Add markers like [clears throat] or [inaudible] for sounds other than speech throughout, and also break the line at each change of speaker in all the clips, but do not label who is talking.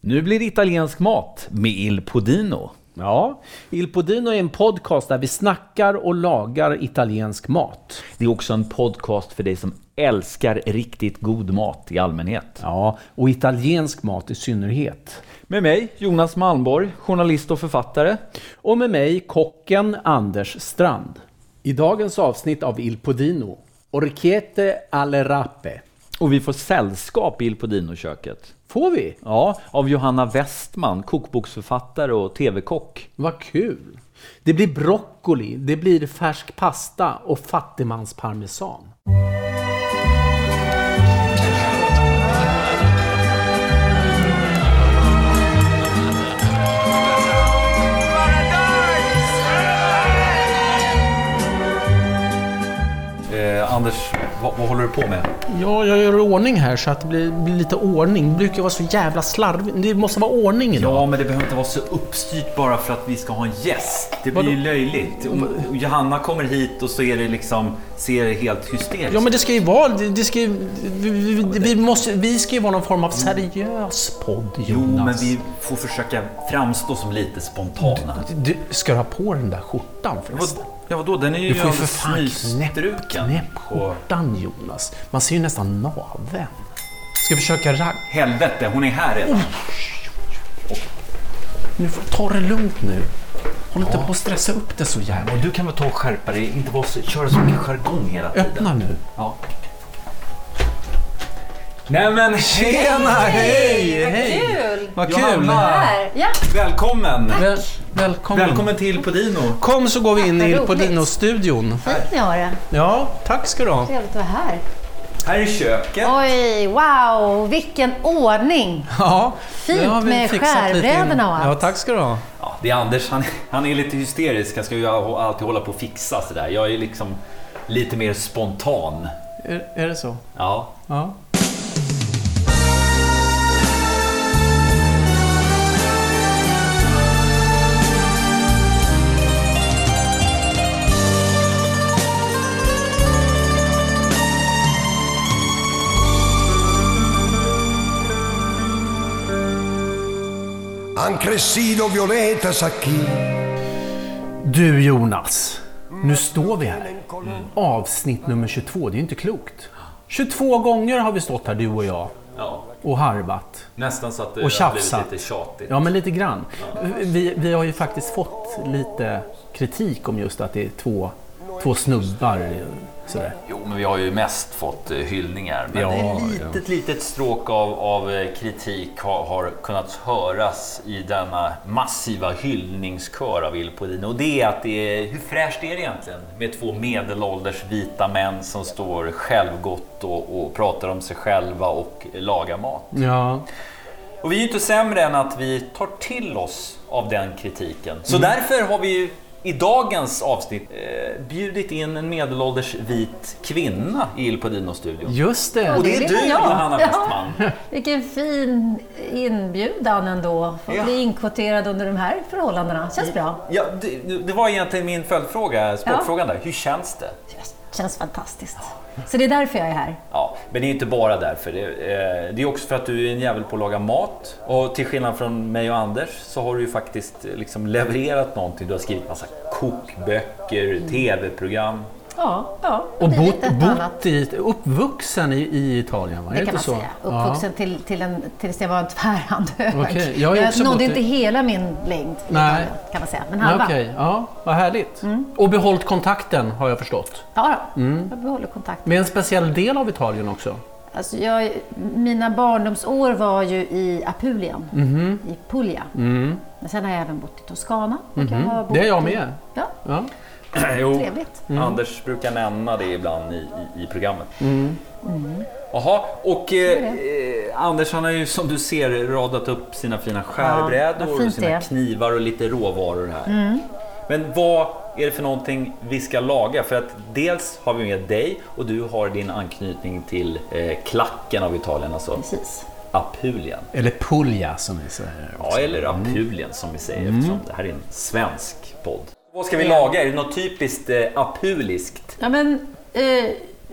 Nu blir det italiensk mat med Il Podino.
Ja, Il Podino är en podcast där vi snackar och lagar italiensk mat.
Det är också en podcast för dig som älskar riktigt god mat i allmänhet.
Ja, och italiensk mat i synnerhet.
Med mig, Jonas Malmborg, journalist och författare.
Och med mig, kocken Anders Strand. I dagens avsnitt av Il Podino, Orchete alle rape.
Och vi får sällskap i Il Podino-köket.
Får vi?
Ja, av Johanna Westman, kokboksförfattare och TV-kock.
Vad kul! Det blir broccoli, det blir färsk pasta och fattigmansparmesan.
Eh, Anders, vad, vad håller du på med?
Ja, jag gör i ordning här så att det blir, blir lite ordning. Det brukar vara så jävla slarvigt. Det måste vara ordning idag.
Ja, men det behöver inte vara så uppstyrt bara för att vi ska ha en gäst. Det blir ju löjligt. Om- om Johanna kommer hit och så är det liksom, ser det helt hysteriskt
Ja, men det ska ju vara... Det, det ska ju, vi, vi, vi- vi, måste, vi ska ju vara någon form av seriös podd,
Jo,
Jonas.
men vi får försöka framstå som lite spontana.
Du, ska du ha på den där skjortan
Vad,
förresten?
ja, vadå? Den är ju
Du får ju för
alldeles
fan knäpp,
nystruken.
knäpp
Och-
skjortan, Jonas. Man ser ju nästan naveln. Ska vi försöka ragga?
Helvete, hon är här redan.
Nu får ta det lugnt nu. Håll inte på att stressa upp det så jävla.
Och du kan väl ta och skärpa dig, inte vara så, köra så mycket jargong hela tiden.
Öppna nu.
Ja. Nej men tjena, hej!
Hej!
Kul!
Vad kul!
Johanna,
Här. Ja,
välkommen!
Väl, välkommen.
Välkommen till Podino.
Kom så går vi in
Vad
i
roligt.
Podino-studion.
fint ni har det.
Ja, tack ska du ha.
Trevligt att vara här.
Här är köket.
Oj, wow, vilken ordning!
Ja,
Fint
nu har vi
med
fixat lite in-
skärbrädorna och allt.
Ja, tack ska du ha.
Ja, det är Anders, han, han är lite hysterisk. Han ska ju alltid hålla på och fixa sådär. Jag är liksom lite mer spontan.
Är, är det så?
Ja.
Ja.
Anch'essino Violeta Sacchi.
Du Jonas, nu står vi här. Avsnitt nummer 22, det är ju inte klokt. 22 gånger har vi stått här du och jag
ja.
och harvat.
Nästan så att det
Och
har blivit
tjafsat.
lite tjatigt.
Ja, men lite grann. Vi, vi har ju faktiskt fått lite kritik om just att det är två, två snubbar. Sådär.
Jo, men vi har ju mest fått eh, hyllningar. Men
Ja,
ett litet, litet stråk av, av eh, kritik har, har kunnat höras i denna massiva hyllningskör av Il Podino. Och det är att det är, hur fräscht är det egentligen med två medelålders vita män som står självgott och, och pratar om sig själva och lagar mat?
Ja,
Och vi är ju inte sämre än att vi tar till oss av den kritiken. Så därför har vi ju i dagens avsnitt eh, bjudit in en medelålders vit kvinna i Il Podino-studion.
just det.
Och det är
det
du,
var jag.
Johanna
Ja.
Westman.
[laughs] Vilken fin inbjudan ändå. Att
Ja.
bli inkvoterad under de här förhållandena. Känns bra.
Ja, det, det var egentligen min följdfråga, eh, sportfrågan där. Hur känns det?
Känns fantastiskt. Så det är därför jag är här.
Ja, men det är inte bara därför. Det, eh, det är också för att du är en jävel på att laga mat. Och till skillnad från mig och Anders så har du ju faktiskt eh, liksom levererat någonting. Du har skrivit massa kokböcker, tv-program.
Ja, ja.
Och
det är
bott,
lite ett annat.
bott i, uppvuxen i, i Italien, va? Är
Det
inte
kan man
så?
säga. Uppvuxen till, till en, tills jag var en tvärhand hög.
Okej, jag har ju också bott
nådde
i-
inte hela min längd i
Nej.
Italien, kan man säga. Men
Ja.
halva. Mm.
Okej, ja, vad härligt. Och behållit kontakten, har jag förstått.
Ja, då. jag behåller kontakten.
Med en speciell del av Italien också.
Alltså jag, mina barndomsår var ju i Apulien,
Mhm.
i Puglia. Men sen har jag även bott i Toscana. och jag har bott
Mm. Mhm. Det är jag
i-
med.
Ja,
Ja.
Jo,
trevligt.
Anders brukar nämna det ibland i, i, i programmet. Jaha, och eh, eh, Anders han har ju som du ser radat upp sina fina
Ja,
skärbrädor
vad fint
och sina
det är. Mm.
knivar och lite råvaror här. Men vad är det för någonting vi ska laga? För att dels har vi med dig och du har din anknytning till eh, klacken av Italien, alltså
Precis.
Apulien.
Eller Puglia som vi säger.
Ja, eller Apulien som vi säger eftersom det här är en svensk podd. Vad ska vi laga? Är det något typiskt eh, apuliskt?
Ja, men, eh,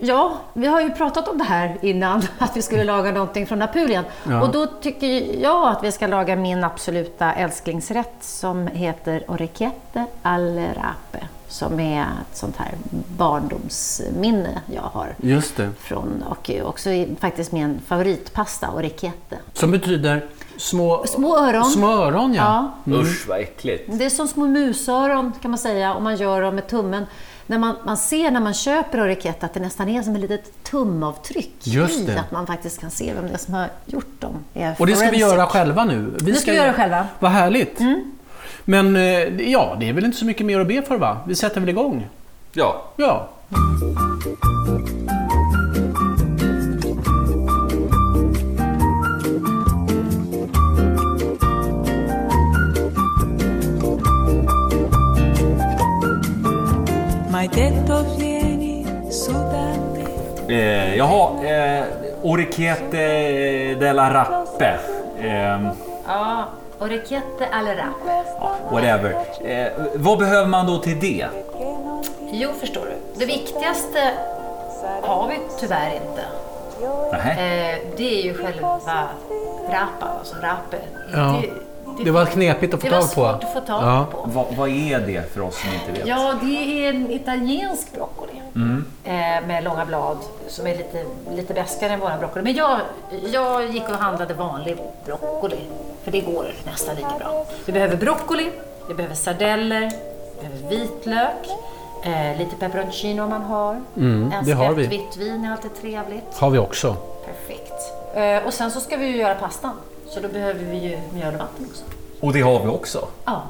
Ja, vi har ju pratat om det här innan, [laughs] att vi skulle laga någonting från Apulien.
Ja.
Och då tycker jag att vi ska laga min absoluta älsklingsrätt som heter orecchiette al rape. Som är ett sånt här barndomsminne jag har.
Just det.
Från, och också i- faktiskt min favoritpasta, orecchiette.
Som betyder små,
Små öron.
Små öron, ja.
Ja,
Usch vad äckligt.
Det är som små musöron kan man säga om man gör dem med tummen. När man, man ser när man köper orecchiette att det nästan är som ett litet tumavtryck
Just
i
det.
att man faktiskt kan se vem det är som har gjort dem. är
Och det ska vi
forensic.
göra själva nu. Vi
Det ska vi göra själva. Mm.
Vad härligt. Men eh, ja, det är väl inte så mycket mer att be för va? Vi sätter väl igång?
Ja,
Ja.
M'hai detto vieni su da me.
Eh, jaha, eh, Orikete della Rappe. Eh,
Ja, orecchiette al rape.
whatever. Eh, vad behöver man då till det?
Jo, förstår du. Det viktigaste har vi tyvärr inte.
Nähä.
Eh, det är ju själva rapa, alltså rape.
Ja. Det var knepigt att få
det var
tag på.
svårt att få tag
Ja.
på.
Va, vad är det för oss som inte vet?
Ja, det är en italiensk broccoli
Mm.
eh, med långa blad som är lite, lite beskare än våra broccoli. Men jag, jag gick och handlade vanlig broccoli, för det går nästan lika bra. Vi behöver broccoli, vi behöver sardeller, vi behöver vitlök, eh, lite peperoncino om man har. en
Mm, det har
skvätt
vi.
vitt vin är alltid trevligt.
Har vi också.
Perfekt. Eh, och sen så ska vi ju göra pastan, så då behöver vi ju mjöl och vatten också.
Och det har vi också.
Ja.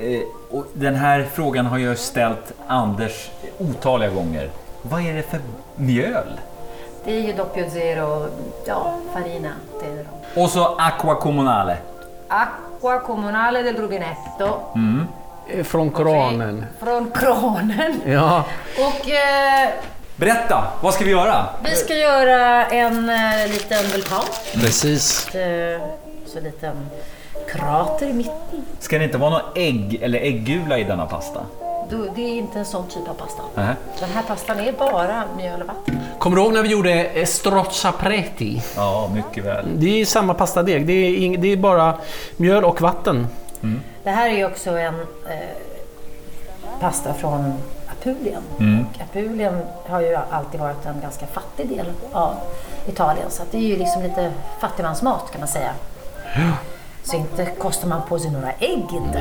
Eh, och den här frågan har jag ställt Anders otaliga gånger. Vad är det för mjöl?
Det är ju doppio zero, ja, farina, det är det. då.
Och så Aqua Comunale.
Acqua comunale del rubinetto.
Eh, Från Koranen.
Från kranen.
Ja.
Och eh,
Berätta, vad ska vi göra?
vi ska göra en eh, liten vulkan.
Precis.
Eh, så en liten krater i mitten.
Ska det inte vara några ägg eller äggula i denna pasta?
Då- Det är inte en sån typ av pasta.
Nähä.
Den här pastan är bara mjöl och vatten.
Kommer du ihåg när vi gjorde eh, strozzapreti?
Ja, mycket väl.
Det är samma pastadeg. Det är, ing- det är bara mjöl och vatten.
Det här är ju också en eh, pasta från Apulien.
Mm.
Och Apulien har ju alltid varit en ganska fattig del av Italien. Så att det är ju liksom lite fattigmansmat kan man säga. Så inte kostar man på sig några ägg inte.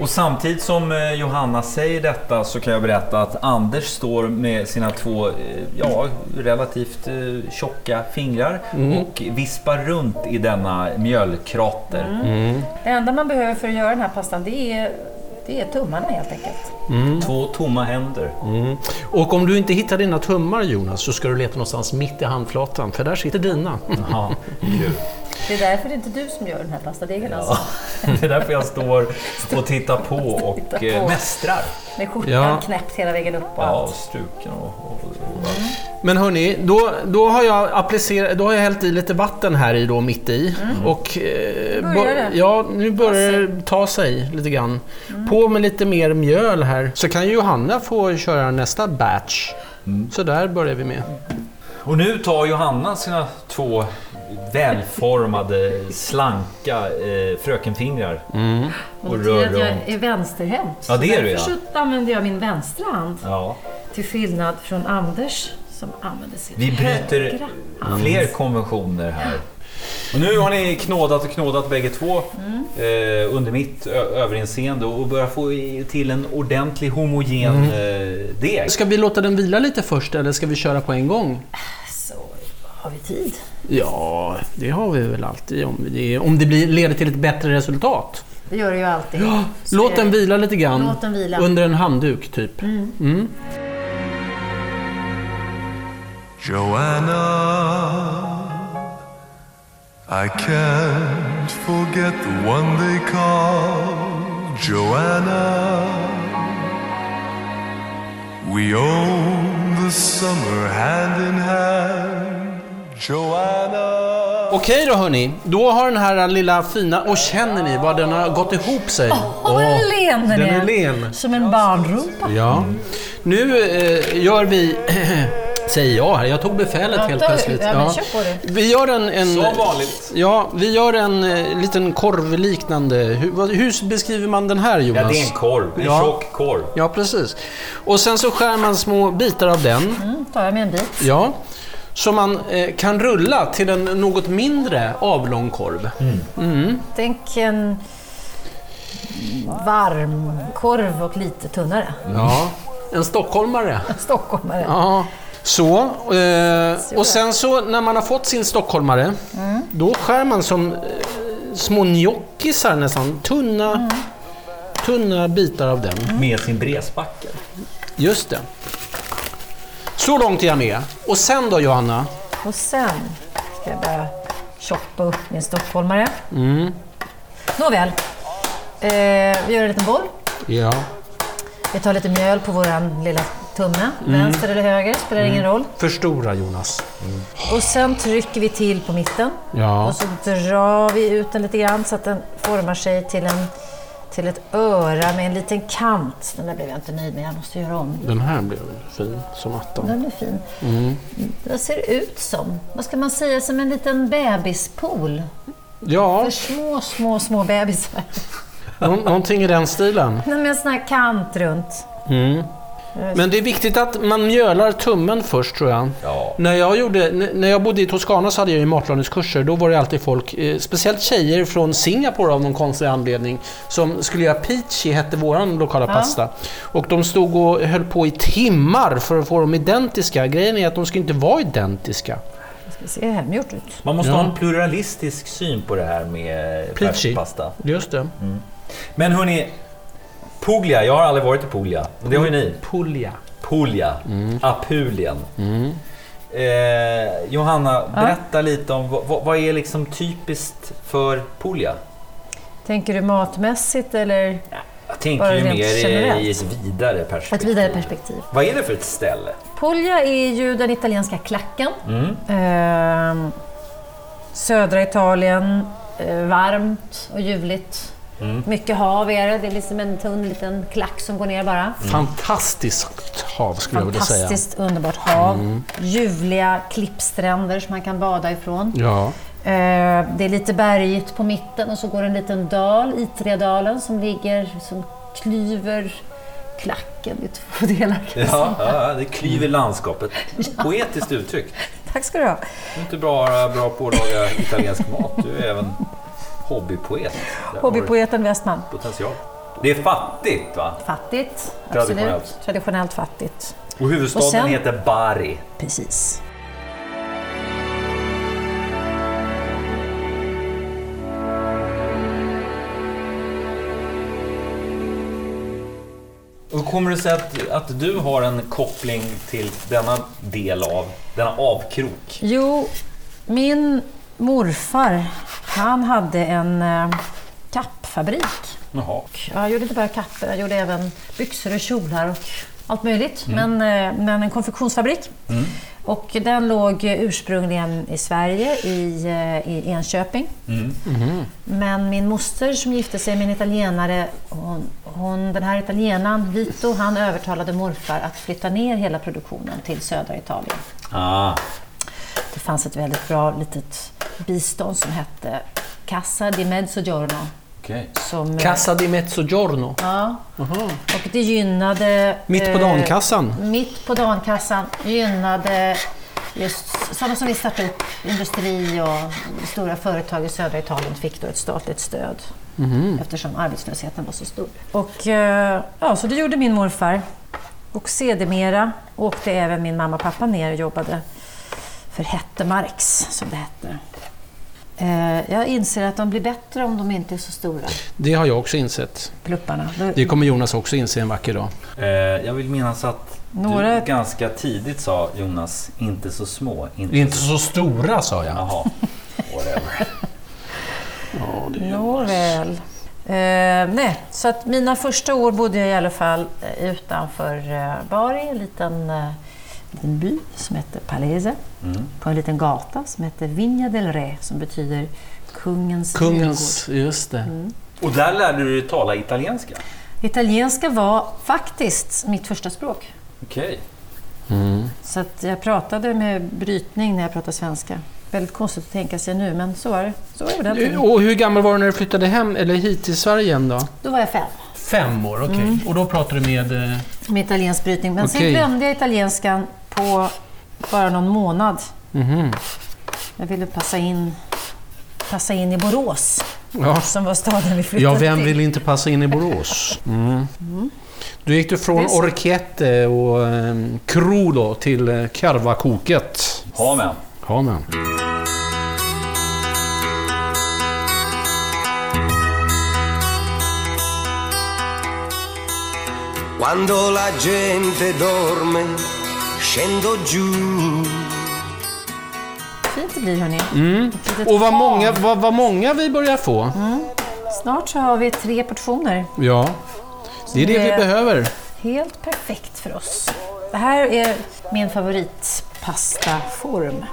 Och samtidigt som eh, Johanna säger detta så kan jag berätta att Anders står med sina två eh, ja, relativt eh, tjocka fingrar
Mm.
och vispar runt i denna mjölkrater.
Mm. Det enda man behöver för att göra den här pastan det är, det är tummarna helt enkelt.
Två tomma händer.
Och om du inte hittar dina tummar Jonas så ska du leta någonstans mitt i handflatan för där sitter dina.
[laughs]
Ja, kul.
Det är därför det är inte du som gör den här pastadegen alltså.
Det är därför jag står och tittar på och
Tittar
eh,
på.
mästrar.
Med skjortan
Ja.
knäppt hela vägen upp och
Ja,
allt.
struken och... och, och.
Men hörni, då, då, har jag applicerat, då har jag hällt i lite vatten här i då mitt i. Och, eh,
Börjar
bo-
det? Mm.
Ja, nu börjar det ta sig lite grann. På med lite mer mjöl här så kan ju Johanna få köra nästa batch. Så där börjar vi med.
och nu tar Johanna sina två välformade, slanka eh, frökenfingrar
Mm.
och rör
jag
runt.
är vänsterhänt.
Ja, det är du,
Därför
ja.
så använder jag min vänstra hand.
Ja.
Till skillnad från Anders som använder sin
Vi bryter
högra.
fler konventioner här. Och nu har ni knådat och knådat bägge två eh, under mitt ö- överinseende och börjar få i- till en ordentlig homogen eh, deg.
Mm. Ska vi låta den vila lite först eller ska vi köra på en gång?
Så har vi tid.
Ja, det har vi väl alltid om det, om det blir, leder till ett bättre resultat.
Det gör det ju alltid. Så
Låt
är
den
det.
vila lite grann.
Låt den vila. Mm.
Under en handduk typ.
Joanna, I can't forget the one they called Joanna. We owned the summer hand in hand, Joanna.
Okej då hörni, då har den här lilla fina... Och känner ni vad den har gått ihop sig?
Åh, vad len den
den
är.
är len.
Som en barnrumpa.
Ja. Nu eh, gör vi [clears throat] Säger jag här. Jag tog befälet
Ja,
helt
ta-
plötsligt.
ja, men kör på det.
Vi gör en... en
Som vanligt.
Ja, vi gör en eh, liten korvliknande... Hur, vad- hur beskriver man den här Jonas?
Ja, det är en korv. En
Ja.
tjock korv.
Ja, precis. Och sen så skär man små bitar av den.
Mm, tar jag med en bit.
Ja. Som man eh, kan rulla till en något mindre avlång korv.
Tänk en varm korv och lite tunnare. [laughs]
Ja. En stockholmare.
Stockholmare.
Ja. Så. Eh, och sen så när man har fått sin stockholmare, då skär man som eh, små gnocchisar nästan. Tunna, tunna bitar av den.
Med sin bresbacke.
Just det. Så långt är jag med. Och sen då Johanna?
Och sen ska jag börja choppa upp min stockholmare. Nåväl, eh, vi gör en liten boll.
Ja.
Vi tar lite mjöl på vår lilla tumme, vänster eller höger, spelar ingen roll.
Förstora Jonas.
Och sen trycker vi till på mitten
Ja.
och så drar vi ut den lite grann så att den formar sig till, en, till ett öra med en liten kant. Den där blev jag inte nöjd med, jag måste göra om.
Den här blev fin som attan.
Den är fin. Den ser ut som, vad ska man säga, som en liten bebispool.
Ja,
För små, små, små bebisar. [laughs]
nå- någonting i den stilen.
Nej, men en sån här kant runt.
Men det är viktigt att man mjölar tummen först tror jag.
Ja.
När jag, gjorde, n- när jag bodde i Toscana så hade jag ju matlagningskurser. Då var det alltid folk, eh, speciellt tjejer från Singapore av någon konstig anledning, som skulle göra peachy, hette våran lokala pasta. Och de stod och höll på i timmar för att få dem identiska. Grejen är att de ska inte vara identiska.
Det ser hemgjort ut.
Man måste
Ja.
ha en pluralistisk syn på det här med
Peachy.
färskpasta.
Just det.
Men hörni, Puglia. Jag har aldrig varit i Puglia. Det har ju ni.
Puglia.
Puglia. Apulien. Eh, Johanna, berätta lite om vad, vad- vad är liksom typiskt för Puglia?
Tänker du matmässigt eller
Jag tänker
Bara
ju
rent
mer i,
generellt.
i ett vidare perspektiv.
ett vidare perspektiv?
Vad är det för ett ställe?
Puglia är ju den italienska klacken.
Mm.
Ehm, södra Italien, eh, varmt och ljuvligt.
Mm.
Mycket hav är det. Det är liksom en tunn liten klack som går ner bara.
Fantastiskt hav skulle Mm, jag vilja säga. Mm.
Fantastiskt underbart hav. Ljuvliga klippstränder som man kan bada ifrån.
Ja.
Eh, Det är lite bergigt på mitten och så går en liten dal, Itredalen, som ligger som klyver klacken i två [laughs] delar. kan jag
Ja,
säga.
ja, det klyver
[laughs]
landskapet. Poetiskt uttryckt.
Tack ska du ha.
Du är inte bara bra på att laga italiensk mat, du är även hobbypoet. Där har du
Hobbypoeten Westman.
Potential. Det är fattigt va?
Fattigt,
Traditionellt.
absolut. Traditionellt fattigt.
Och huvudstaden
Och sen-
heter Bari.
Precis.
Och kommer det sig att, att du har en koppling till denna del av, denna avkrok?
Jo, min morfar, han hade en eh, kappfabrik.
Jaha.
Ja, Jag gjorde inte bara kappor, jag gjorde även byxor och kjolar och allt möjligt. Men, eh, men en konfektionsfabrik. Och den låg eh, ursprungligen i Sverige, i, eh, i Enköping. Men min moster som gifte sig med en italienare, hon, hon, den här italienaren Vito, han övertalade morfar att flytta ner hela produktionen till södra Italien.
Ah,
Det fanns ett väldigt bra litet bistånd som hette Casa di Mezzogiorno.
okej.
Som, eh,
Casa di Mezzogiorno.
Ja. Och det gynnade...
Mitt på
eh,
dankassan.
Mitt på dankassan gynnade just sådana som vill starta upp industri och stora företag i södra Italien fick då ett statligt stöd
Mhm.
eftersom arbetslösheten var så stor. Och, eh, ja, så det gjorde min morfar. Och sedermera åkte även min mamma och pappa ner och jobbade för Hettemarks, som det hette. Eh, Jag inser att de blir bättre om de inte är så stora,
Det har jag också insett.
plupparna.
Det kommer Jonas också inse en vacker dag.
Eh, jag vill minnas att
Några-
du ganska tidigt sa Jonas, inte så små. Inte,
Inte så stora sa jag.
Jaha. Whatever.
Nåväl. Eh, nej, så att mina första år bodde jag i alla fall eh, utanför eh, Bari, en liten, eh, liten by som hette Palese. På en liten gata som hette Vigna del Re som betyder kungens,
Kungens, just det.
Och där lärde du dig tala italienska?
trädgård. Italienska var faktiskt mitt första språk.
Okej.
Så att jag pratade med brytning när jag pratade svenska. Väldigt konstigt att tänka sig nu, men så var det. Så var det på den tiden.
Och hur gammal var du när du flyttade hem, eller hit till Sverige igen då?
Då var jag fem
Fem år, okej. Och då pratade du med... eh,
med italiensk brytning. Men sen
Okej.
glömde jag italienskan på bara någon månad.
Mhm.
Jag ville passa in, passa in i Borås,
Ja.
som var staden vi flyttade
ja, vem
till.
vill inte passa in i Borås? Mm. Då gick du från
Visst.
Orchete och eh, Crudo till eh, Karvakoket.
Ha med.
Ja, men.
Quando la gente dorme, scendo giù.
Fint det blir, hörni. Ett litet
Mm. Och vad
barn.
många, vad, vad många vi börjar få.
Snart så har vi tre portioner.
Ja. Det är det vi
Det-
behöver.
Helt perfekt för oss. Det här är min favoritpastaform.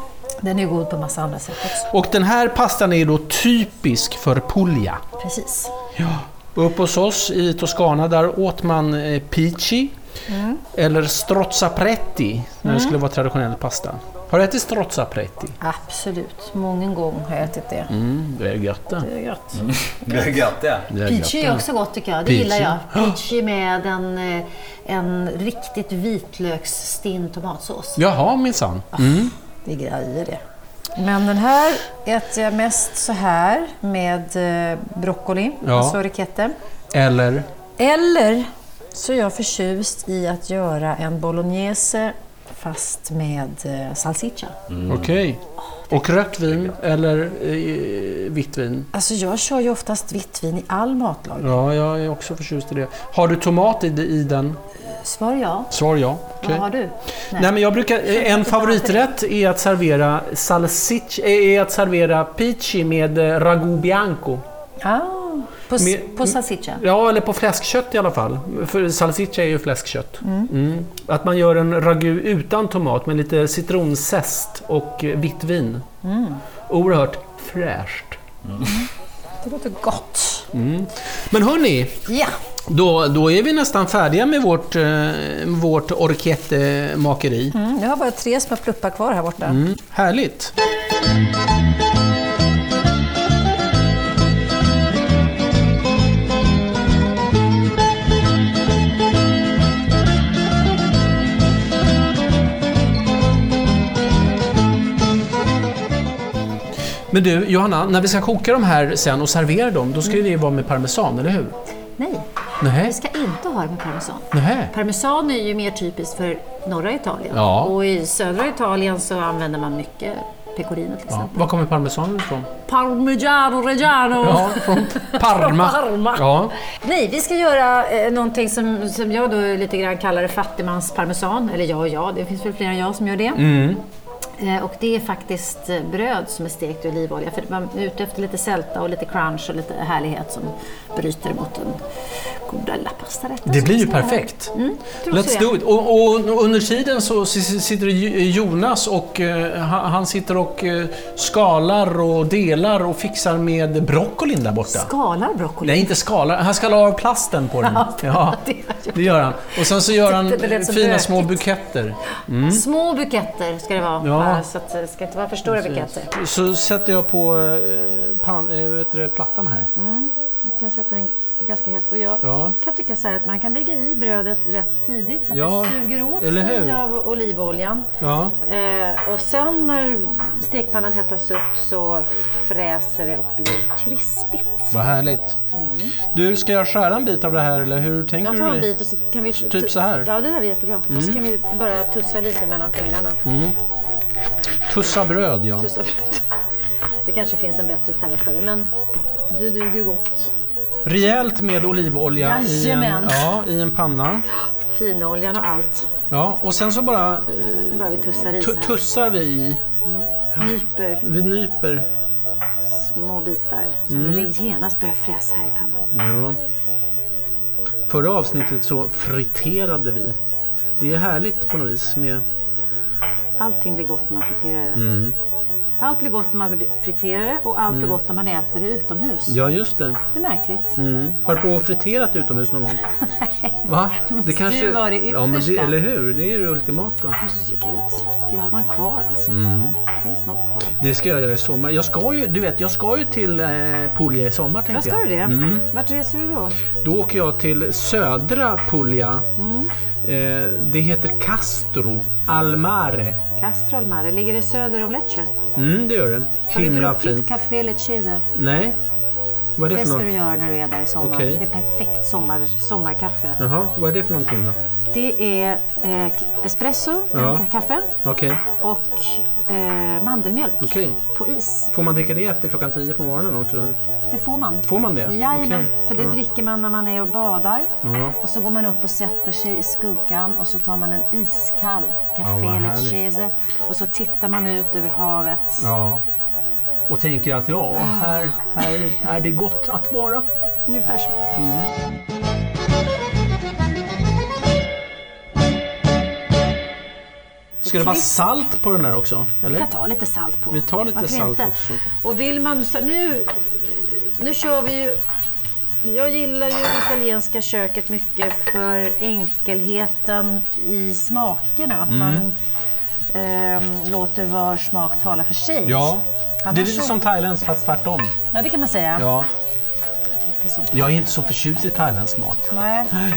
Den är god på massa andra sätt också.
Och den här pastan är då typisk för Puglia.
Precis.
Ja. Upp hos oss i Toscana där åt man eh, pici Mm. eller strozzapretti när det skulle vara traditionell pasta. Har du ätit strozzapretti?
Absolut. Många gång har jag ätit det.
Mm, det är gött det.
Det är gott.
Det är gött det.
Det är
Peachy
gött
är
det.
också gott tycker jag. Det
Peachy.
gillar jag.
[gasps]
Peachy med en, eh, en riktigt vitlöksstinn tomatsås.
Jaha minsann.
Det är grejer det. Men den här äter jag mest så här med eh, broccoli,
Ja.
alltså rikette.
Eller?
Eller så är jag förtjust i att göra en bolognese fast med eh, salsiccia.
Mm. Okej. Och rött vin eller eh, vitt vin?
Alltså jag kör ju oftast vitt vin i all matlagning.
Ja, jag är också förtjust i det. Har du tomat i, i den?
Svar ja.
Svar ja. Okej.
Vad har du?
Nej, men jag brukar, en favoriträtt är att servera salsic, är att servera pici med eh, ragu bianco.
Ah, på, s-
Med-
på salsiccia?
Ja, eller på fläskkött i alla fall. För salsiccia är ju fläskkött. Mm. Att man gör en ragu utan tomat med lite citronzest och eh, vitt vin. Mm. Oerhört fräscht.
Det låter gott.
Men hörni,
Ja,
då, då är vi nästan färdiga med vårt, eh, vårt orkettemakeri.
mm, jag har bara tre små pluppar kvar här borta.
Mm. Härligt! Men du Johanna, när vi ska koka de här sen och servera dem, då ska ju det vara med parmesan, eller hur?
Nej,
Nej.
vi ska inte ha det med parmesan.
Nej.
Parmesan är ju mer typiskt för norra Italien.
Ja.
Och i södra Italien så använder man mycket pecorino till exempel.
Var kommer parmesanen ifrån?
Parmigiano Reggiano!
Ja, från Parma.
[laughs] Från Parma.
Ja.
Nej, vi ska göra eh, någonting som, som jag då lite grann kallar det fattigmansparmesan. Eller jag och jag, det finns väl fler än jag som gör det.
Mm.
Eh, och det är faktiskt eh, bröd som är stekt i olivolja. För man är ute efter lite sälta och lite crunch och lite härlighet som bryter mot den goda lapastarätten.
Det blir ju perfekt.
tror
Let's
så, ja.
do it. Och, och, och under tiden så si- si- sitter Ju- Jonas och eh, han han sitter och eh, skalar och delar och fixar med broccolin där borta.
Skalar broccoli.
Nej, inte skalar. Han skalar av plasten på den. [laughs]
Ja, det gör jag.
det gör han. Och sen så gör han
Det lät så
fina små
bökigt.
buketter.
Små buketter ska det vara.
Mm. Ja.
Bara Så att det ska inte vara för stora buketter.
Så sätter jag på eh, pan, eh, vet du, det, plattan här.
Mm. Man kan sätta en ganska het. Och jag
Ja.
kan tycka så här att man kan lägga i brödet rätt tidigt så att
Ja,
det suger åt
eller
sig
hur?
av olivoljan.
Ja.
Eh, och sen när stekpannan hettas upp så fräser det och blir krispigt.
Vad härligt. Du, ska jag skära en bit av det här eller hur tänker
Mm. Jag
du?
tar en
dig?
bit och så kan vi...
Typ så här? Mm.
Ja, det där är jättebra. Och så kan vi bara tussa lite mellan fingrarna.
Tussa bröd, ja.
Tussa förut. Det kanske finns en bättre term för det, men det duger ju gott.
Rejält med olivolja i en,
Jajamän.
ja, i en panna.
Finoljan och allt.
Ja, och sen så bara eh,
Nu börjar vi tussa i så
tu-
här.
tussar vi i.
Nyper
Vi nyper.
små bitar som
Mm.
genast börjar fräsa här i pannan.
Ja. Förra avsnittet så friterade vi. Det är härligt på något vis med... Mm.
Allting blir gott när man friterar det. Allt blir gott när man friterar det och allt blir gott när man äter det utomhus.
Ja, Mm. just det.
Det är märkligt.
Har du på och friterat utomhus
[laughs]
någon gång? Va?
måste ju vara det
ja, men det,
yttersta.
Eller hur? Det är ju det ultimata.
Herregud, det har man kvar alltså.
Mm.
Det är snart kvar.
Det ska jag göra i sommar. Jag ska ju, du vet, jag ska ju till eh, Puglia i sommar
Ja,
tänkte
ska
jag.
du det?
Mm.
Vart reser du då?
Då åker jag till södra Puglia.
Mm.
Eh, det heter Castro Almare.
Castralmare, ligger det söder om Lecce?
Mm, det gör det.
Har du
Himla
druckit
fint.
Café Lecchese?
Nej, vad är det
Det
för
ska du
något?
göra när du är där i sommar.
Okej.
Det är perfekt sommar, sommarkaffe.
Jaha, vad är det för någonting då?
Det är eh, espresso,
Ja.
ka- kaffe
Okej,
och eh, mandelmjölk
okej.
på is.
Får man dricka det efter klockan 10 på morgonen också?
Det får man.
Får man det?
Jajamän,
Okej.
för det dricker man när man är och badar.
Ja.
Och så går man upp och sätter sig i skuggan och så tar man en iskall Café
vad härligt.
Lecchese. Och så tittar man ut över havet.
ja. Och tänker att ja,
Ah.
här, här är det gott att vara.
Ungefär så.
Ska det vara salt på den här också?
Vi
Eller?
kan ta lite salt på.
Vi tar lite
Varför
salt
inte?
också.
Och vill man... så- Nu, nu kör vi ju... Jag gillar ju det italienska köket mycket för enkelheten i smakerna. Att
Mm.
man ehm, låter var smak tala för sig. Annars
Det är lite
så-
som thailändsk fast tvärtom.
Ja, det kan man säga.
Ja.
Det är som-
Jag är inte så förtjust i thailändsk mat.
Nej. Ja,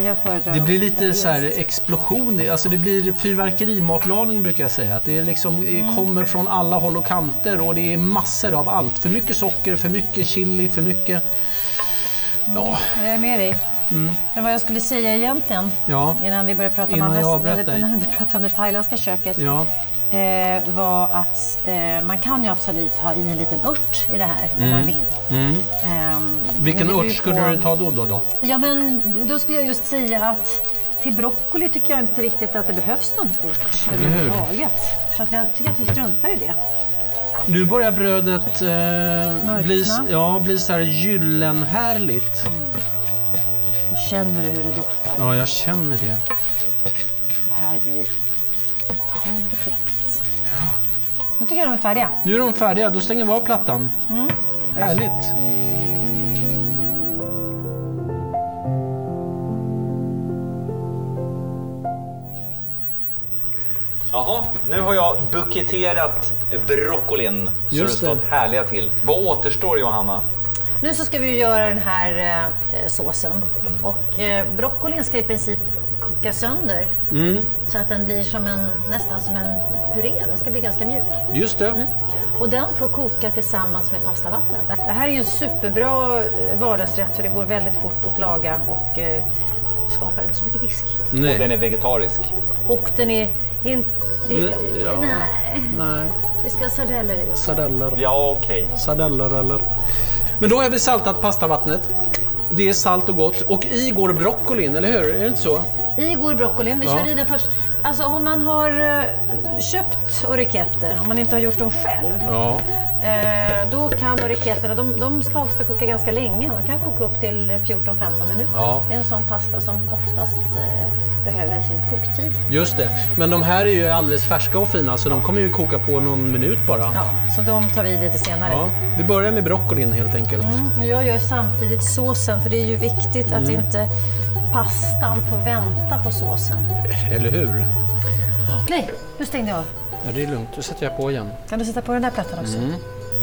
Jag föredrar
Det blir
också
lite
italienskt.
så här explosion, i- alltså det blir fyrverkerimatlagning brukar jag säga. Att det är liksom det
Mm.
kommer från alla håll och kanter och det är massor av allt. För mycket socker, för mycket chili, för mycket... Ja,
Jag är med dig. Men vad jag skulle säga egentligen,
Mm. ja,
innan vi börjar prata om,
Innan
andra,
jag avbröt dig.
[laughs] innan vi pratar om det thailändska köket,
ja.
eh, var att eh, man kan ju absolut ha i en liten ört i det här om man vill. Ehm,
Mm. Vilken
men det beror
ört
ju
skulle
på-
du ta då? då, då?
Ja, men då skulle jag just säga att till broccoli tycker jag inte riktigt att det behövs någon ört överhuvudtaget. Så att jag tycker att vi struntar i det.
Nu börjar brödet eh, bli, ja, bli så här gyllenhärligt.
Och känner du hur det doftar?
Ja, jag känner det.
Det här blir perfekt. Nu tycker jag de är färdiga.
Nu är de färdiga, då stänger vi av plattan.
Mm.
Härligt.
Jaha, nu har jag buketerat broccolin så
Just
det har stått härliga till. Vad återstår Johanna?
Nu så ska vi ju göra den här eh, såsen. Och eh, broccolin ska i princip koka sönder. Så att den blir som en, nästan som en puré. Den ska bli ganska mjuk.
Just det.
Och den får koka tillsammans med pastavattnet. Det här är ju en superbra eh, vardagsrätt för det går väldigt fort att laga och eh, skapar inte så mycket disk.
Och
Nej.
den är vegetarisk.
Och den är inte...
ja.
Nej,
Nej.
vi ska ha sardeller i.
Sardeller.
Ja, okej.
Sardeller eller... Men då har vi saltat pastavattnet. Det är salt och gott. Och i går broccolin, eller hur? Är det inte så?
I går broccolin, vi kör i den först. Alltså om man har eh, köpt orecchiette, om man inte har gjort dem själv,
Ja.
eh, då kan orecchetterna, de, de ska ofta koka ganska länge, de kan koka upp till 14-15 minuter.
Ja.
Det är en sån pasta som oftast eh, behöver sin koktid.
Just det. Men de här är ju alldeles färska och fina så de kommer ju koka på någon minut bara.
Ja, så de tar vi lite senare.
Ja, vi börjar med broccolin helt enkelt.
Och Mm, Jag gör samtidigt såsen, för det är ju viktigt att
Mm.
inte pastan får vänta på såsen.
Eller hur?
Nej, nu stängde jag av.
Ja, det är lugnt. Då sätter jag på igen.
Kan du sätta på den där plattan också?
Mm.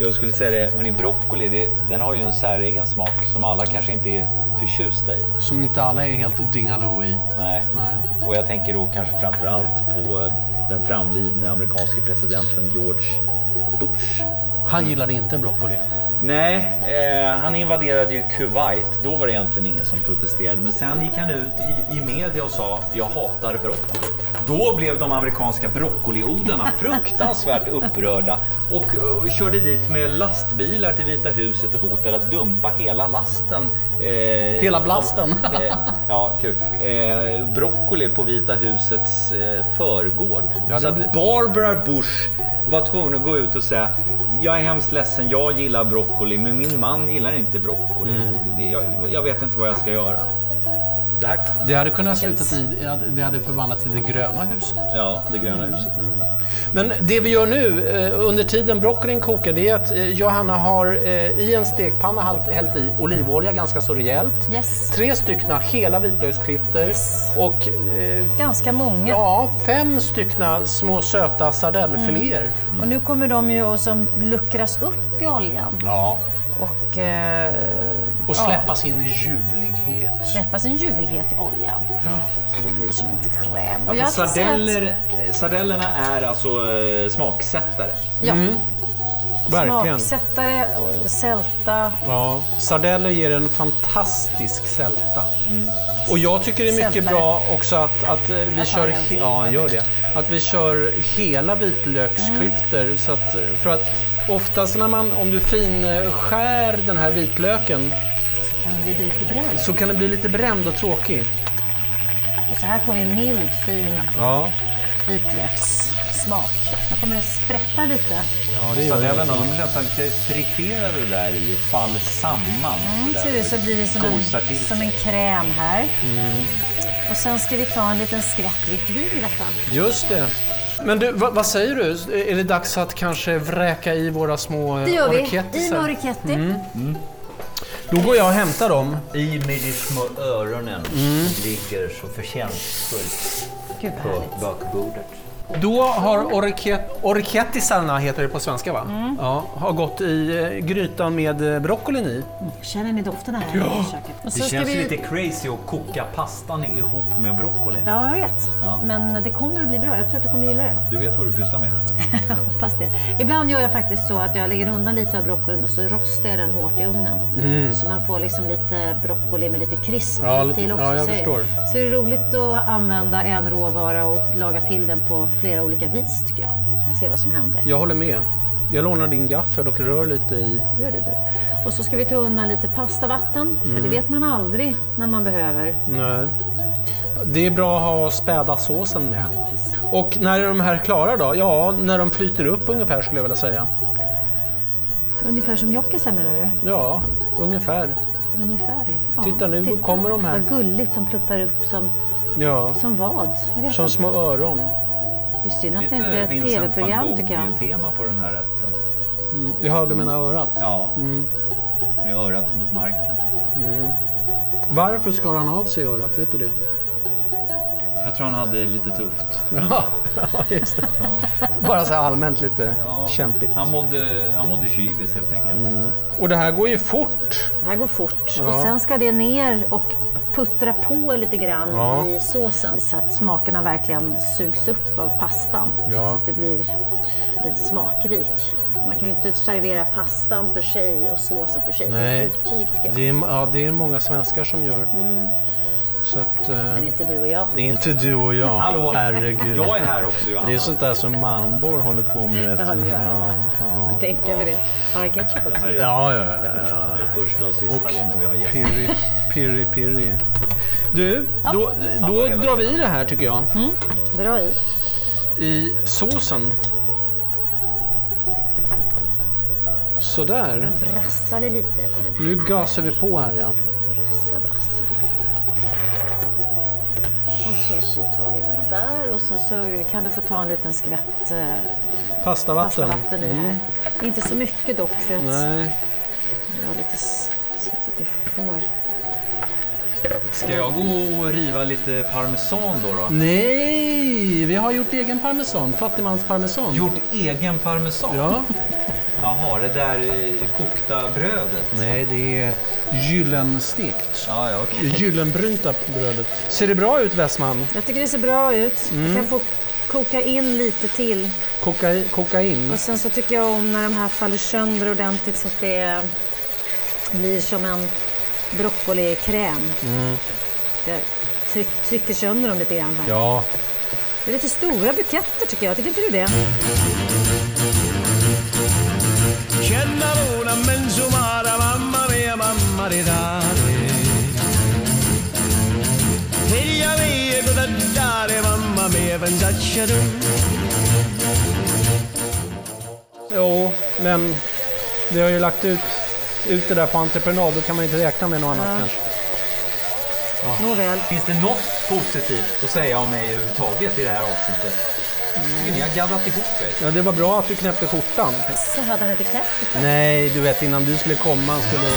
Jag skulle säga det, hörni, broccoli det, den har ju en säregen smak som alla kanske inte är förtjusta i.
Som inte alla är helt dingaloo i.
Nej.
Nej.
Och jag tänker då kanske framför allt på eh, den framlidne amerikanske presidenten George Bush.
Han gillade inte broccoli.
Nej, eh, han invaderade ju Kuwait. Då var det egentligen ingen som protesterade. Men sen gick han ut i, i media och sa jag hatar broccoli. Då blev de amerikanska broccoliodlarna fruktansvärt upprörda och eh, körde dit med lastbilar till Vita huset och hotade att dumpa hela lasten. eh,
Hela blasten.
av- eh, ja, kul. Eh, broccoli på Vita husets eh, förgård.
Ja,
Så
det
att
blir-
Barbara Bush var tvungen att gå ut och säga jag är hemskt ledsen, jag gillar broccoli men min man gillar inte broccoli. Det- Jag, jag vet inte vad jag ska göra. Det här,
Det hade kunnat sluta i... Det hade förvandlats till det gröna huset.
ja, det gröna huset.
Men det vi gör nu eh, under tiden broccolin kokar det är att eh, Johanna har eh, i en stekpanna halt- hällt i olivolja ganska så rejält.
Yes.
Tre stycken hela vitlöksklyftor och eh,
Ganska många.
ja, fem stycken små söta sardellfiléer.
Och nu kommer de ju att som luckras upp i oljan
Ja.
och eh,
Och släppa sin ljuvlighet.
släppas en ljuvlighet i oljan. Så det blir som en kräm. Och
Ja,
har sett-
sardeller, eh, sardellerna är alltså eh, smaksättare.
Ja,
Verkligen.
smaksättare, sälta.
Ja, sardeller ger en fantastisk sälta. Och jag tycker det är mycket
Sältare.
bra också att, att eh, vi
Jag tar
kör,
en till.
ja, gör det. Att vi kör hela vitlöksklyftor.
Mm.
Så att, för att oftast när man, om du finskär den här vitlöken
Men det blir lite bränt.
så kan den bli lite bränd och tråkig.
Och så här får vi en mild, fin
Ja,
vitlökssmak. Nu kommer det sprätta lite. Mm,
ja det
Sardellerna de blir nästan lite friterade där i och fall samman.
Mm,
sådär.
ser du, så blir det som
Gosar
en,
till Mm.
som en kräm här. Och sen ska vi ta en liten skvätt vitt vin i detta.
Just det. Men du, vad, vad säger du? Är det dags att kanske vräka i våra små eh,
Det gör vi. I
orkettisar? Mm.
Noriketti.
Då går jag och hämtar dem.
I med de små öronen ligger så förtjänstfullt
Gud vad
på
härligt.
bakbordet.
Då har orke- orkettisarna, heter det på svenska va? Ja, har gått i eh, grytan med eh, broccolin i.
Känner ni doften här ja. i köket? Och
Det
så ska
känns ju
vi...
lite crazy att koka pastan ihop med broccolin.
Ja, jag vet.
Ja.
Men det kommer att bli bra. Jag tror att du kommer gilla det.
Du vet vad du pysslar med? eller?
Jag hoppas det. Ibland gör jag faktiskt så att jag lägger undan lite av broccolin och så rostar jag den hårt i ugnen. Så man får liksom lite broccoli med lite krisp
Mm. Ja, lite-
till också.
ja, jag
så,
förstår.
så är det roligt att använda en råvara och laga till den på flera olika vis tycker jag. Jag ser vad som händer.
Jag håller med. Jag lånar din gaffel och rör lite i.
Gör det du. Och så ska vi ta undan lite pastavatten, för
Mm.
det vet man aldrig när man behöver.
Nej. Det är bra att ha späda såsen med.
Precis.
Och när är de här klara då? Ja, när de flyter upp ungefär skulle jag vilja säga.
Ungefär som jockisar menar du?
Ja, ungefär.
Ungefär. Ja,
Titta, nu kommer de här.
Vad gulligt, de pluppar upp som,
Ja.
som vad? Jag vet
Som
inte.
små öron.
Det är synd att det inte
Lite
är ett
Vincent van
tv-program tycker jag.
Gogh-tema på den här rätten.
Jag hörde mina örat.
Ja,
Mm.
med örat mot marken.
Varför skar han av sig örat? Vet du det?
Jag tror han hade det lite tufft.
Ja, just det. Bara så här allmänt lite kämpigt.
Han mådde, han mådde kyvis helt enkelt.
Och det här går ju fort.
Det här går fort. Och sen ska det ner och puttra på lite grann
Ja.
i såsen så att smakerna verkligen sugs upp av pastan.
Ja.
Så att det blir, blir smakrik. Man kan ju inte servera pastan för sig och såsen för sig. Det
Nej.
är otyg tycker jag. Mm.
Det är, ja, det är många svenskar som gör. Så att... Eh,
Men inte du och jag.
inte du och jag.
Hallå.
Herregud.
Jag är här också Johanna.
Det är sånt där som Malmborg håller på med. Vet
Ja, det
du.
gör
ja,
han.
ja.
Tänk över det. Har jag ketchup också?
ja, ja, ja, ja.
Det är första och sista gången vi har gäst.
Pirri, pirri, pirri. Du, då, då drar vi i det här tycker jag.
Mm. Dra i.
I såsen. Sådär.
Brassa det lite på den.
Nu gasar vi på här ja.
Brassa, brassa. Och så, så tar vi den där och så, så kan du få ta en liten skvätt eh,
Pastavatten.
pastavatten i här. Inte så mycket dock för att
Nej.
det var lite s- så att det får.
Ska jag gå och riva lite parmesan då? då?
Nej, vi har gjort egen parmesan. Fattigmansparmesan.
Gjort egen parmesan?
Ja.
Jaha, det där eh, kokta brödet.
Nej, det är gyllenstekt.
Ja, ja, okej.
Gyllenbrynta brödet. Ser det bra ut Westman?
Jag tycker det ser bra ut. Du kan få koka in lite till.
Koka, koka in.
Och sen så tycker jag om när de här faller sönder ordentligt så att det blir som en broccolikräm. Jag tryck, trycker sönder dem lite grann här.
Ja.
Det är lite stora buketter tycker jag. Tycker inte du det?
Cennarona menzumara, mamma mia, mamma di dare. Figlia mia, cosa dare, mamma mia, pensaccia tu.
Jo, men vi har ju lagt ut, ut det där på entreprenad. Då kan man ju inte räkna med något annat kanske.
Nåväl.
Finns det något positivt att säga om mig överhuvudtaget i det här avsnittet? Gud, Ni har gabblat ihop er.
Ja, det var bra att du knäppte skjortan.
Så hade han inte knäppt
Nej, du vet innan du skulle komma skulle...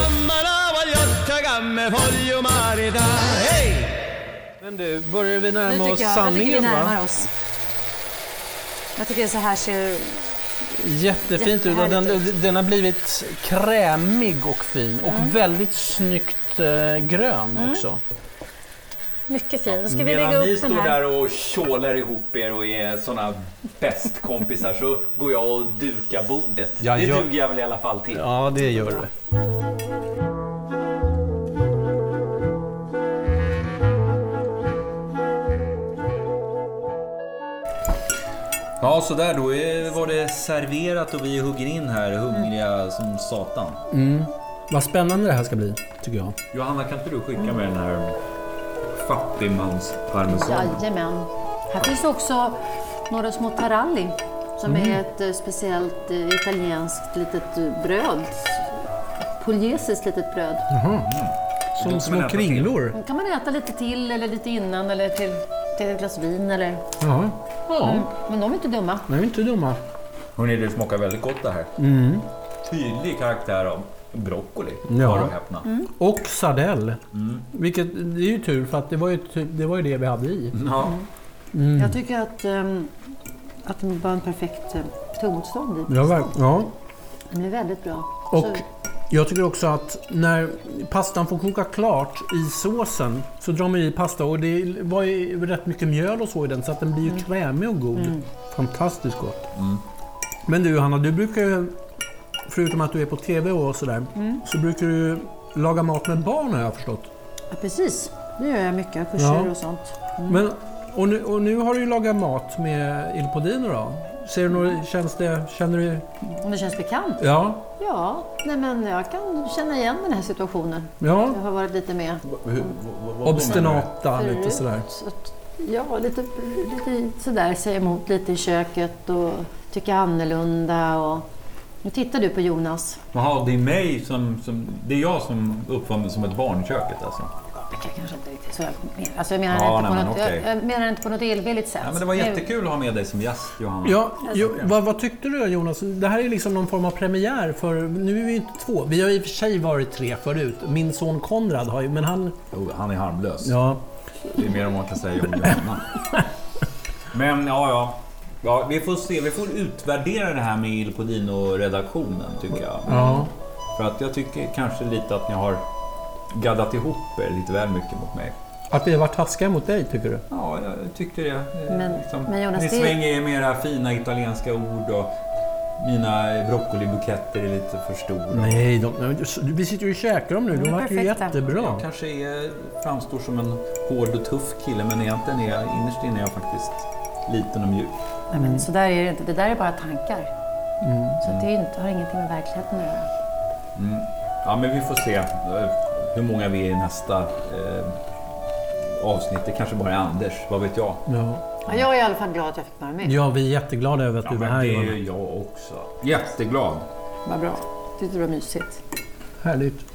Men du, börjar vi
Nu
närma oss
tycker jag, jag tycker vi
sanningen va?
närmar oss. Jag tycker så här ser...
Jättefint ut. och Den, den har blivit krämig och fin och
Mm.
väldigt snyggt eh, grön också.
Mycket fin. Nu ska vi lägga
Medan ni
upp den
står där
här.
och tjålar ihop er och är såna bästkompisar så går jag och dukar bordet.
Ja,
det
jag-
duger jag väl i alla fall till.
Ja, det gör du.
Ja, så där då eh, var det serverat och vi hugger in här hungriga som satan.
Vad spännande det här ska bli, tycker jag.
Johanna, kan inte du skicka med den här fattigmansparmesanen?
Jajamän. Här finns också några små taralli som
Mm.
är ett eh, speciellt eh, italienskt litet eh, bröd. Pugliesiskt litet bröd.
Som små kringlor.
Den kan man äta lite till eller lite innan eller till, till ett glas vin eller...
Ja, ja.
Men de är inte dumma.
de är inte dumma.
Hörrni, det smakar väldigt gott det här.
Mm.
Tydlig karaktär av broccoli,
Ja.
hör och häpna.
Och sardell. Vilket, det är ju tur för att det var ju, ty- det, var ju det vi hade i.
Ja.
Mm.
Jag tycker att, ehm, att de var en perfekt eh, tuggmotstånd i.
Ja, verk- ja.
De är väldigt bra.
Och jag tycker också att när pastan får koka klart i såsen så drar man i pasta och det var ju rätt mycket mjöl och så i den så att den blir ju krämig och god. Fantastiskt gott. Men du Hanna, du brukar ju, förutom att du är på TV och sådär, så brukar du laga mat med barn har jag förstått.
Ja, precis. Det gör jag mycket. Kurser
Ja.
och sånt.
Men, och, nu, och nu har du ju lagat mat med Il Podino då. Ser du några, känns det, känner du,
Om det känns bekant?
ja,
Ja, nej men jag kan känna igen den här situationen.
ja,
Jag har varit lite med
obstinata lite sådär.
Så att, ja, lite, lite sådär, säga emot lite i köket och tycka annorlunda. Och... Nu tittar du på Jonas.
Jaha, det är mig som, som... Det är jag som uppfann mig som ett barn i köket alltså?
Jag kanske inte riktigt så jag menar. Alltså, jag menar,
Ja,
inte,
nej,
på
men
något,
okej.
jag, jag menar inte på något illvilligt sätt.
Ja, men det var jättekul att ha med dig som gäst, Johanna.
Ja, jo, vad, vad tyckte du Jonas? Det här är liksom någon form av premiär för nu är vi ju inte två. Vi har i och för sig varit tre förut. Min son Konrad har ju, men han...
Jo, Oh, han är harmlös.
Ja,
Det är mer än man kan säga om
[laughs]
Johanna. Men ja, ja. ja vi får se. Vi får utvärdera det här med Il Podino-redaktionen tycker jag.
ja.
För att jag tycker kanske lite att ni har gaddat ihop er lite väl mycket mot mig.
Att vi har varit taskiga mot dig tycker du?
Ja, jag tyckte det. Eh,
Men- men Jonas,
ni
det-
svänger er med era fina italienska ord och mina broccolibuketter är lite för stora.
Nej, de, nej, du- vi sitter ju och käkar dem nu. De
är
vart ju
perfekta.
jättebra.
Jag kanske är, framstår som en hård och tuff kille men egentligen är jag, innerst inne är jag faktiskt liten och mjuk.
Nej, men, så där är det inte. Det där är bara tankar. Så det är ju inte, har ingenting med verkligheten att
Mm.
göra.
Ja, men vi får se eh, hur många vi är i nästa eh, avsnitt. Det kanske bara är Anders, vad vet jag?
Ja.
Ja, jag är i alla fall glad att jag fick vara med.
Mm. ja, vi är jätteglada över att du var här Johanna.
jag också. Jätteglad.
Vad bra. Tyckte det var mysigt.
Härligt.